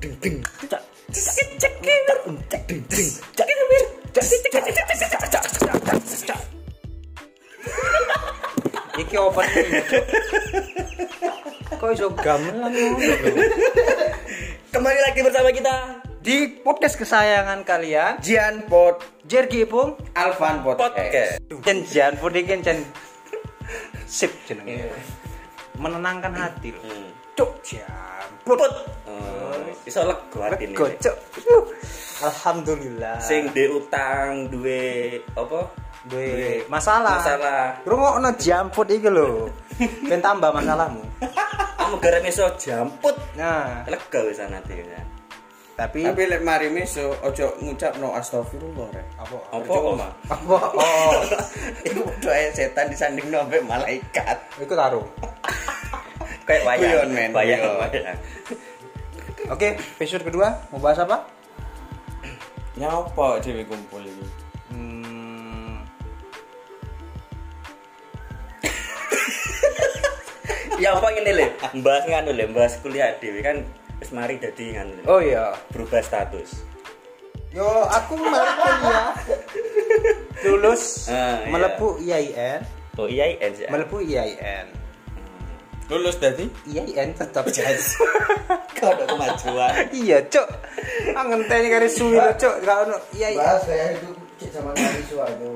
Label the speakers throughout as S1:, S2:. S1: ding ding
S2: Iki opening. Cuk. Kok iso gamelan ngono lho?
S1: Kembali lagi bersama kita
S2: Di podcast kesayangan kalian,
S1: Jian Pod
S2: Jergi Pung
S1: Alvan Podcast.
S2: Dan Jan Pudikin Jan Sip jenenge.
S1: Iya.
S2: Menenangkan hati lho.
S1: Hmm.
S2: Cuk, jambrut.
S1: Eh, Iso lego atine.
S2: Lego, cuk. Yuh. Alhamdulillah.
S1: Sing duwe utang, duwe apa?
S2: Duwe masalah.
S1: Masalah.
S2: Rungokno jamput iki lho. Ben tambah masalahmu.
S1: Kamu garam iso jamput.
S2: Nah,
S1: Lega wis anate ya.
S2: tapi
S3: Tapi lek mari meso ojo ngucap no astagfirullah rek.
S2: apa?
S1: Apa oma?
S2: Apa? Oh,
S3: Iku podo ae setan disanding no ambek malaikat.
S2: iku tarung.
S3: Guyon,
S1: Kayak wayang,
S3: men,
S1: wayang,
S3: guyon.
S1: wayang.
S2: Oke, episode kedua mau bahas apa?
S3: Nyapa dhewe kumpul iki?
S2: Hmm,
S1: Ya apa ngene le? Mbahas nganu le, mbahas kuliah dhewe kan wis mari dadi nganu. le.
S2: oh iya.
S1: Berubah status.
S2: Yo, aku mari kuliah. Lulus
S1: Ah, iya.
S2: melebu IAIN,
S1: Oh iya IN sih.
S2: melebu IAIN.
S3: Lulus dadi?
S2: IAIN tetap jas.
S1: Kau ada kemajuan.
S2: iya, Cuk. Angenteni kare suwi lho, Cuk. Gak ono IAIN.
S3: saya ya, itu cek zaman kali suatu.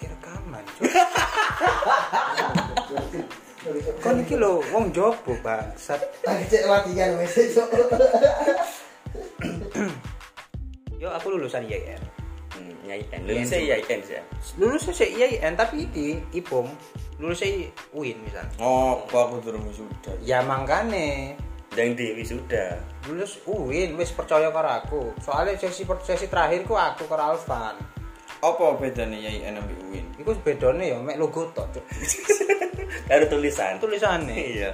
S2: Iki rekaman, Cuk. Kon iki lho wong jopo, bangsat.
S3: Tak cek kan latihan wis iso.
S2: Yo, aku lulusan IAIN.
S1: Hmm, ya IN. Lu bisa ya IN sih. ya?
S2: Lulusnya sih IAIN iya, tapi di IPOM. Lulusnya UIN misalnya.
S3: Oh, apa aku durung sudah.
S2: Ya mangkane
S1: Dan Dewi sudah.
S2: lulus UIN wis percaya karo aku. Soalnya sesi sesi terakhir ku aku karo Alvan.
S3: Apa bedane YIN ambek UIN?
S2: Iku bedone ya mek logo tok, Cuk.
S1: Ada tulisan.
S2: Tulisane
S1: Iya.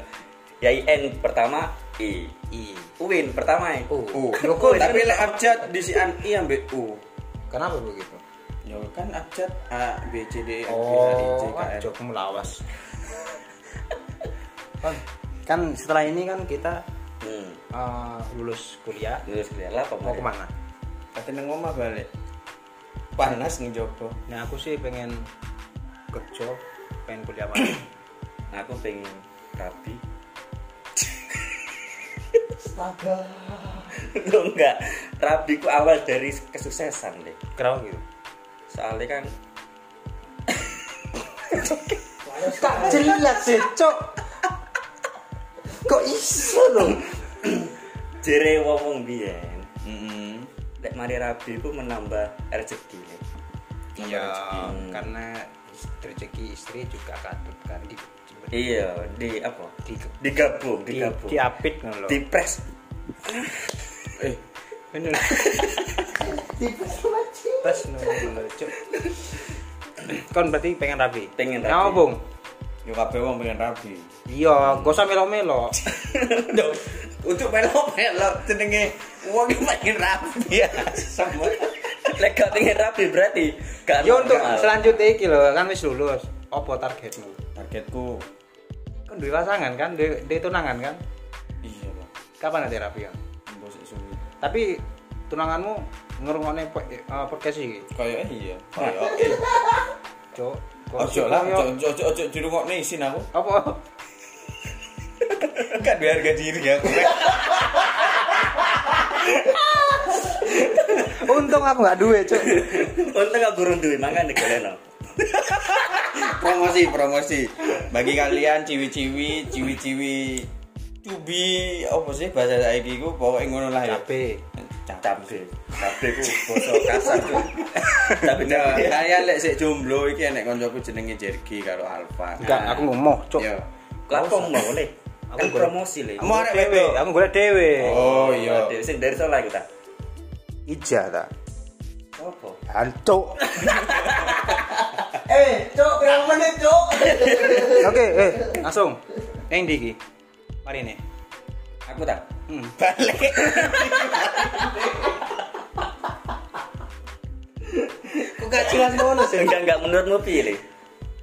S1: Ya IN pertama I.
S2: I
S1: Uin pertama I.
S2: U.
S3: U.
S2: Logo
S3: Tapi
S2: tapi
S3: lek abjad disian I ambek U.
S2: kenapa begitu?
S3: Ya kan abjad A B C D E F G H I J
S2: Oh,
S3: K L.
S2: jokmu lawas. kan, kan setelah ini kan kita
S1: Hmm.
S2: eh, lulus kuliah
S1: Lulus kuliah lah apa
S2: mau kemana?
S3: Kate nang omah balik. Panas nih jopo.
S2: Nah aku sih pengen kerja, pengen kuliah mana?
S1: Aku pengen rapi. Astaga. Lo enggak. Rabi ku awal dari kesuksesan deh.
S2: Kenapa gitu?
S1: Soalnya kan
S2: Tak jelas sih, Cok. Kok iso loh?
S1: jere wong biyen.
S3: Heeh.
S1: Lek mari rabi ku menambah rezeki deh.
S2: Iya,
S1: rezeki.
S2: karena rezeki istri juga katut kan di
S1: Iya, di apa?
S2: di
S1: Digabung,
S2: di,
S1: digabung.
S2: diapit ngono lho.
S1: di press
S3: Eh,
S2: Bener. Pas ngono lho, Cuk. Kon berarti pengen rapi.
S1: Pengen rapi.
S2: Nah, Bung.
S3: yo kabeh wong pengen rabi.
S2: Iya, gak usah melo-melo.
S3: Untuk melo-melo jenenge wong iki pengen rabi ya.
S1: Iya, sama lek gak pengen rapi berarti gak
S2: Ya untuk
S1: normal.
S2: selanjutnya iki lho, kan wis lulus. Apa targetmu?
S3: Targetku
S2: Kan duwe pasangan kan, duwe duwe tunangan kan?
S3: iya, Pak.
S2: Kapan nanti rapi kan?
S3: Mbok sik suwi.
S2: Tapi tunanganmu ngerungokne po- eh, podcast iki,
S3: Kayak iya. Kayak
S2: Cuk. Kok
S3: Ojo
S2: sih,
S3: lah, ojo
S2: kok yo-
S3: ojo ojo dirungokne isin aku.
S2: Apa?
S3: Kan biar harga diri ya.
S2: Untung aku gak duwe, Cuk.
S1: untung gak gurun duit makan digoleno
S3: promosi promosi. Bagi kalian ciwi-ciwi, ciwi-ciwi cubi apa sih bahasa saiki ku pokoke ngono lah ya.
S2: Cabe.
S3: Cap.
S1: cabe cabe ku boso kasar ku
S3: Tapi
S1: cabe
S3: nah,
S1: cabe
S3: kalian lek sik jomblo iki enek koncoku jenenge Jergi karo Alfa. Nah, iya.
S2: Enggak, aku ngomong, Cuk.
S3: Yo.
S1: lapo mau le
S2: Aku
S1: kan
S2: goreng.
S1: promosi le
S3: Mau arek
S2: Dewe,
S3: wedok.
S2: aku golek dhewe.
S3: Iya. Oh iya.
S1: Ade, sing dari sola kita
S2: Ija ta.
S1: apa
S2: Antuk.
S3: Eh, cok, berapa menit, cok?
S2: Oke, eh, langsung. Neng ndi iki? Mari nih.
S1: aku tak
S2: Hmm.
S3: Balik.
S1: aku gak jelas ngono sih enggak enggak menurutmu pilih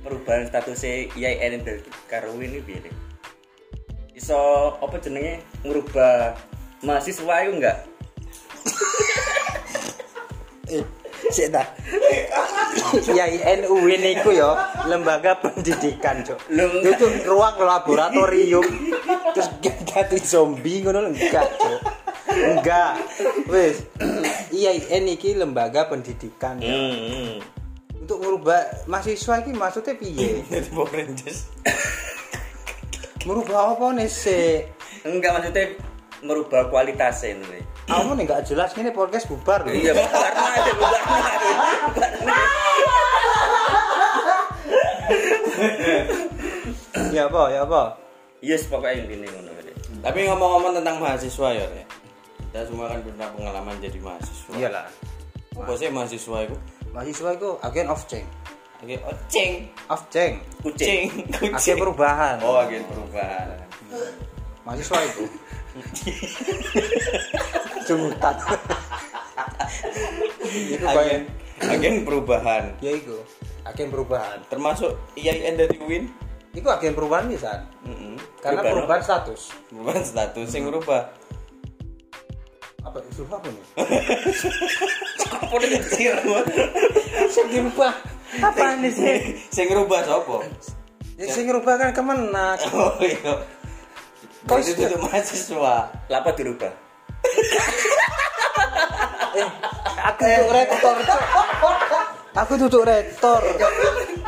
S1: perubahan statusnya IAIN dari Karwin ini pilih iso apa jenenge ngubah mahasiswa itu enggak
S2: Eh, Sik ta. Ya, IAIN UIN niku ya lembaga pendidikan, Cuk.
S1: Lho, enggak.
S2: Itu ruang laboratorium. Terus ganti zombie ngono lho, enggak, Cuk. Enggak. Wis. Iya, IAIN iki lembaga pendidikan.
S1: hmm, hmm.
S2: Untuk merubah mahasiswa iki maksudnya piye?
S3: Jadi Power Rangers.
S2: Merubah apa nih sih?
S1: enggak maksudnya merubah kualitasnya ini
S2: Kamu nih nggak jelas ini podcast bubar lho.
S1: iya karena aja bubarna
S2: Ya apa? Ya apa?
S1: yes pokoknya intinya ngono gitu.
S3: Tapi ngomong-ngomong tentang mahasiswa ya, ya. Kita semua kan pernah pengalaman jadi mahasiswa.
S2: Iyalah.
S3: Apa sih mahasiswa itu?
S2: Mahasiswa itu agen of change.
S3: Oke, oceng,
S2: Of change.
S1: kucing
S2: Agen
S3: kucing.
S2: perubahan.
S3: Oh, agen perubahan.
S2: mahasiswa itu jumutan itu
S3: Agen,
S2: kayak
S3: agen perubahan.
S2: ya itu agen perubahan
S3: Termasuk IAIN dari UIN.
S2: itu agen perubahan bisa
S3: Mm-mm.
S2: karena
S1: Perubahan
S2: perubahan status
S3: Perubahan status yang berubah.
S2: apa itu apa nih
S1: apa nih kecil
S2: sing dirubah apa nih sih
S3: Sing ngerubah sapa?
S2: ya sing ngerubah kan kemenak
S3: Oh iya.
S2: Kau
S3: Berarti
S2: sudah-
S3: itu mahasiswa.
S1: apa dirubah
S2: eh aku tuh rektor Cuk. aku tuh rektor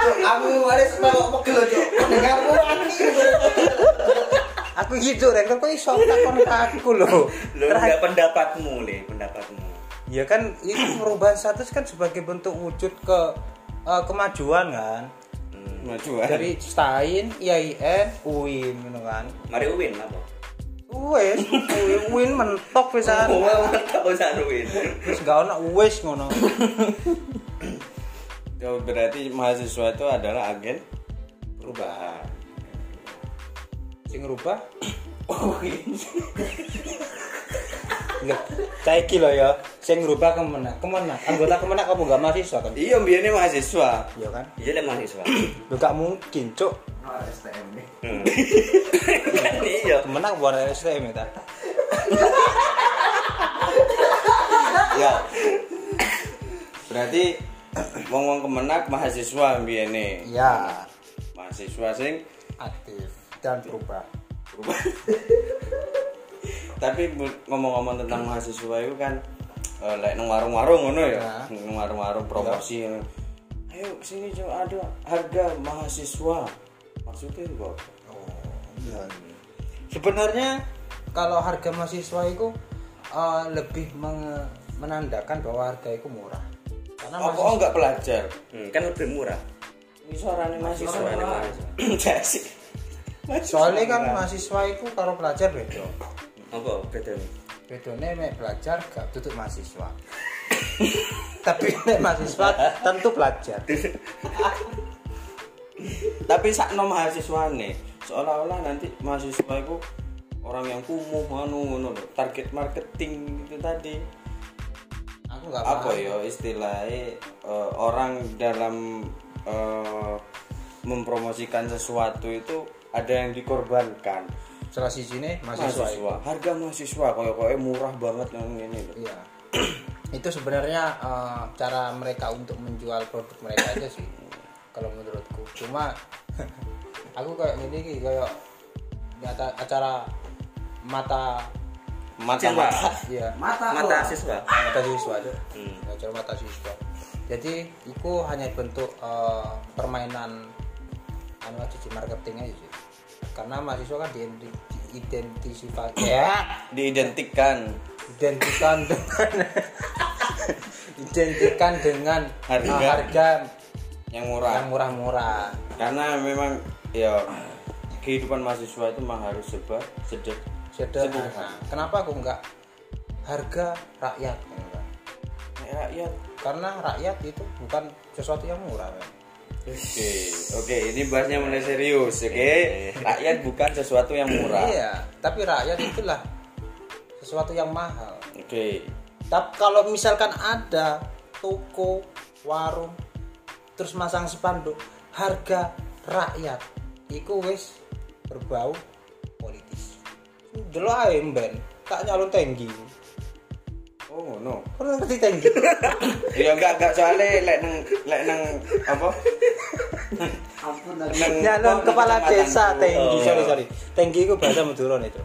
S4: Aku waris melok pegel cok. Dengarmu mati.
S2: aku gitu rektor kok iso takon ke aku loh
S1: lo enggak pendapatmu nih pendapatmu
S2: Ya kan itu perubahan status kan sebagai bentuk wujud ke eh, kemajuan kan.
S3: Majuan.
S2: Dari Stain, IAIN, UIN gitu kan.
S1: mari Uwin apa
S2: Wes, UIN, UIN mentok
S1: oh
S2: pisan.
S1: mantap usaha Uwin
S2: Terus gak ono wis ngono.
S3: Ya, berarti mahasiswa itu adalah agen perubahan.
S2: Sing ngerubah Oh, iya.
S3: UIN.
S2: Lho, saiki lho ya, sing ngerubah kemenak. Kemenak, anggota kemenak kamu gak mahasiswa kan?
S3: Iya, biasanya mahasiswa.
S2: Iya kan?
S1: iya lah mahasiswa
S2: Lho gak mungkin, Cuk.
S4: STM nih.
S1: kan iya
S2: Kemenak bukan STM ya ta.
S3: ya berarti wong wong kemenak mahasiswa biene
S2: Iya,
S3: mahasiswa sing
S2: aktif dan berubah.
S3: tapi bu- ngomong-ngomong tentang mahasiswa itu kan eh, lek nang warung-warung ngono ya
S2: Ya.
S3: nang warung-warung promosi ngono. ayo sini coba ada harga mahasiswa maksudnya itu apa?
S2: sebenarnya kalau harga mahasiswa itu eh, lebih menge- menandakan bahwa harga itu murah karena
S3: apa
S2: Nah, mahasiswa-
S3: Oh, enggak pelajar
S1: Hmm, kan lebih murah
S3: ini
S2: Nah,
S3: suaranya mahasiswa
S1: Suarane
S3: Pak.
S1: mahasiswa.
S3: Jadi,
S2: soalnya kan mahasiswa itu kalau belajar beda
S1: apa beda nih
S2: bedanya nek belajar gak tutup mahasiswa tapi nek mahasiswa tentu belajar
S3: tapi sakno mahasiswa nih seolah-olah nanti mahasiswa itu orang yang kumuh anu ngono lho. target marketing itu tadi
S2: aku gak
S3: apa
S2: paham.
S3: ya istilahnya eh, orang dalam eh, mempromosikan sesuatu itu ada yang dikorbankan
S2: salah sisi nih
S3: mahasiswa,
S2: mahasiswa,
S3: iya.
S2: itu.
S3: harga mahasiswa koyo koyo murah banget yang ini lho.
S2: Iya. itu sebenarnya eh, cara mereka untuk menjual produk mereka aja sih kalau menurutku cuma aku kayak gini ki, kayak di ata- acara mata
S3: mata mata
S2: ya
S4: Mata lo.
S1: mata siswa
S2: mata siswa aja Iya,
S1: Hmm.
S2: acara mata siswa jadi itu hanya bentuk eh, permainan anu aja sih, marketing aja sih karena mahasiswa kan diidentifikasi ya
S3: diidentikan
S2: identikan dengan identikan dengan
S3: Harga.
S2: uh, harga
S3: yang
S2: yang
S3: murah
S2: murah-murah
S3: karena memang ya kehidupan mahasiswa itu memang harus serba sedek
S2: sederhana. Kenapa aku nggak harga rakyat? gitu kan?
S3: Nek rakyat
S2: Karena rakyat itu bukan sesuatu yang murah. kan?
S3: Oke, oke, ini bahasnya mulai serius, oke? Rakyat bukan sesuatu yang murah.
S2: Iya, tapi rakyat itulah sesuatu yang mahal.
S3: Oke,
S2: Tapi kalau misalkan ada toko, warung, terus masang spanduk harga rakyat, iku wis berbau politis. Delok ae mben. tak nyalon tangki
S3: oh ngono
S2: pernah ngerti tangki
S3: ya enggak enggak soalnya lek nang lek nang apa
S4: Ampun lagi.
S3: nang
S2: nyalon
S3: apa,
S2: kepala
S3: nang
S2: desa tangki
S1: Oh.
S2: sorry sorry tangki itu bahasa Madura itu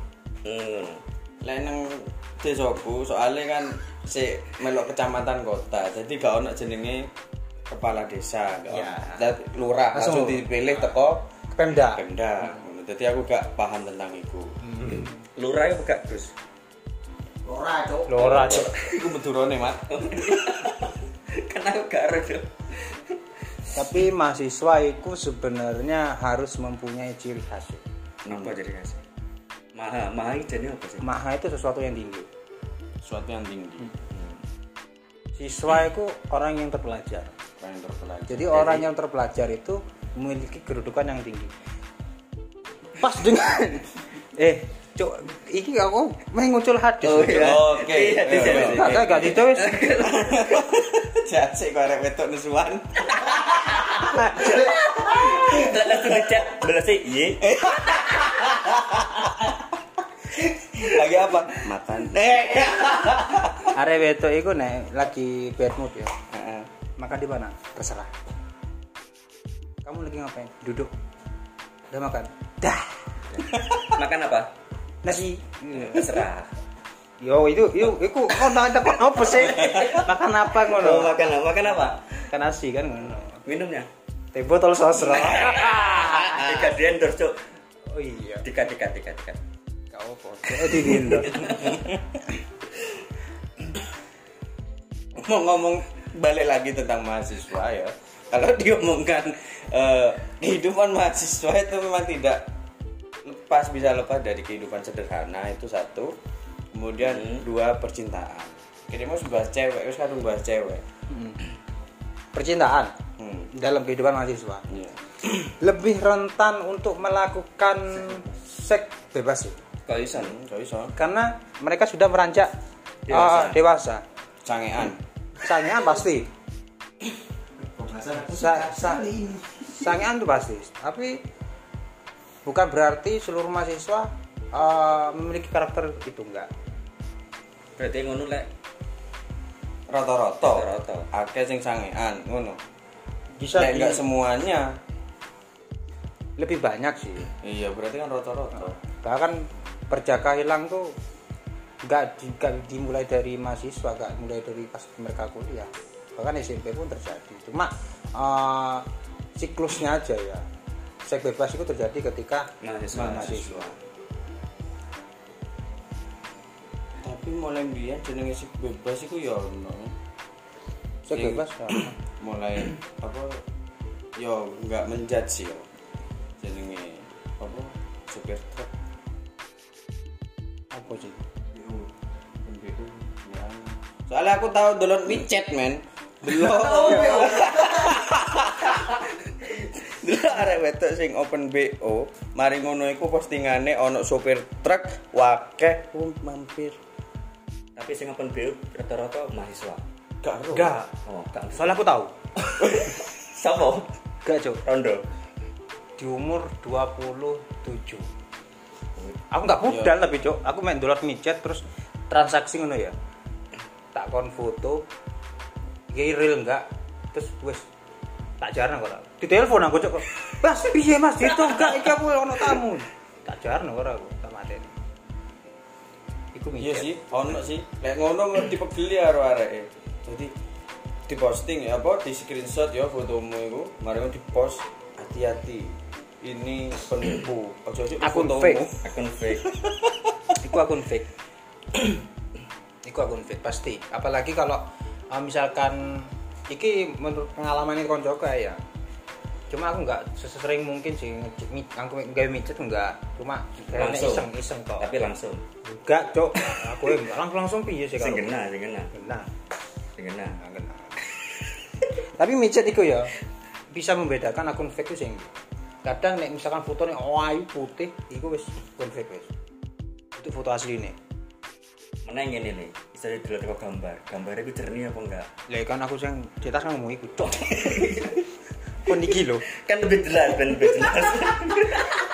S1: Hmm.
S3: lek nang desaku soalnya kan si melok kecamatan kota jadi gak ono jenenge kepala desa gak
S2: Ya.
S3: ono. Dadi lurah langsung
S2: Langsung.
S3: Ah. dipilih teko
S2: Pemda
S3: Pemda ngono. jadi aku gak paham tentang itu
S1: Lurah itu gak Gus.
S4: Lora, Cok.
S2: Lora cok
S3: Iku medurone mat
S1: Kan aku gak ero, Cuk.
S2: tapi mahasiswa itu sebenarnya harus mempunyai ciri khas Cuk.
S1: Apa jadi ngasih? Maha, maha itu jadi apa sih?
S2: maha itu sesuatu yang tinggi
S3: suatu yang tinggi
S2: siswa itu orang yang terpelajar
S3: orang yang terpelajar
S2: jadi orang yang terpelajar itu memiliki kedudukan yang tinggi pas dengan eh cok iki aku main muncul hadis ya.
S3: iya. Oke.
S1: Iya, di sini.
S3: Oke.
S2: Kakak gak ditulis
S3: Jase kok arek wetok nesuan.
S1: Tidak langsung aja. Belas sih, iya.
S3: Lagi apa? Makan. Eh.
S2: Are weto iku nek lagi bad mood ya.
S3: Heeh.
S2: Makan di mana? Terserah. Kamu lagi ngapain? Duduk. Udah makan? Dah.
S1: Makan apa?
S2: Nasi.
S1: Terserah.
S2: Yo itu itu iku ngono ada kok apa sih? Makan apa ngono?
S1: Oh, makan apa? Makan apa?
S2: Kan nasi kan ngono.
S1: Minumnya.
S2: Teh botol sosro.
S1: Tiga di endorse, Cuk.
S2: Oh iya.
S1: Tiga, tiga, tiga, tiga.
S2: Kau opo? Eh di Indo.
S3: Mau ngomong balik lagi tentang mahasiswa ya. Kalau diomongkan eh, kehidupan mahasiswa itu memang tidak lepas bisa lepas dari kehidupan sederhana itu satu. Kemudian dua percintaan. Kita mau bahas cewek, terus kadung bahas cewek.
S2: Percintaan
S3: Hmm.
S2: dalam kehidupan mahasiswa
S3: Iya.
S2: lebih rentan untuk melakukan seks bebas sih.
S1: Kok iso?
S3: Hmm, Gak iso.
S2: karena mereka sudah meranjak
S1: Dewasa.
S2: eh, dewasa.
S3: Cangean.
S2: Sangean pasti.
S4: Pembahasan aku suka
S2: Sa- sa-
S4: sekali.
S2: Sangean itu pasti. Tapi bukan berarti seluruh mahasiswa eh, memiliki karakter itu enggak.
S1: Berarti ngono lek.
S3: Roto-roto.
S1: Roto-roto.
S3: Akeh sing cangean ngono.
S2: Bisa
S3: Lek
S2: di-
S3: nggak semuanya.
S2: lebih banyak sih.
S3: Iya, berarti kan roto-roto.
S2: Bahkan perjaka hilang tuh enggak, di- enggak dimulai dari mahasiswa, enggak mulai dari pas mereka kuliah. Bahkan SMP pun terjadi. Cuma eh, siklusnya aja ya. Seks bebas itu terjadi ketika
S1: Mahasiswa.
S3: Nah,
S2: mahasiswa.
S3: Tapi mulai mbiyen jenenge sik bebas iku ya ono.
S2: Seks
S3: Iya.
S2: bebas. ya.
S3: Mulai apa ya nggak menjudge ya. Jenenge apa supir truk
S2: apa sih
S3: BU. BU, ya. Soalnya aku tahu download WeChat, men. Delok. Delok arek wedok sing open BO, mari ngono iku postingane ono supir truk wakeh um, mampir.
S1: Tapi sing open BU rata-rata mahasiswa.
S3: Gak ero.
S2: enggak
S1: Oh, gak.
S2: soalnya aku tahu
S1: Sopo?
S2: enggak cok
S1: Rondo.
S2: di umur 27 aku nggak budal tapi cok aku main dolar micet terus transaksi ngono ya tak kon foto iki real enggak terus wes tak jarang kok aku. di telepon aku cok mas piye mas itu enggak iki aku ono tamu tak jarang kok aku tak mateni iku
S3: Iya
S2: micet
S3: sih, ono sih. Lek ngono ngerti pegeli karo areke. Jadi di posting ya apa di screenshot ya fotomu iku, mari di post hati-hati. Ini penipu. Ojo ojo
S2: Akun fake.
S1: Akun fake.
S2: Iku akun fake. Iku akun fake pasti. Apalagi kalau eh, misalkan iki menurut pengalaman ini koncoku ya. Cuma aku nggak sesering mungkin sih ngecek mi- aku nggak micet nggak. Cuma kayaknya
S1: Langsung.
S2: iseng iseng kok.
S1: Tapi langsung.
S2: Enggak cok. Aku enggak langsung langsung piye sih
S1: Sing
S2: kalau.
S1: kena, sing kena.
S2: Nah,
S1: Sing kena.
S2: tapi micet iku ya bisa membedakan akun fake itu sing kadang nek misalkan foto nih ayu putih iku wis akun fake wis itu foto asli nih
S1: Mana yang ini nih? Bisa dilihat kok gambar. Gambarnya itu jernih apa enggak?
S2: Lah kan aku sing di tas kan ngomong iku tok. Kon iki lho.
S1: Kan lebih jelas, ben lebih jelas.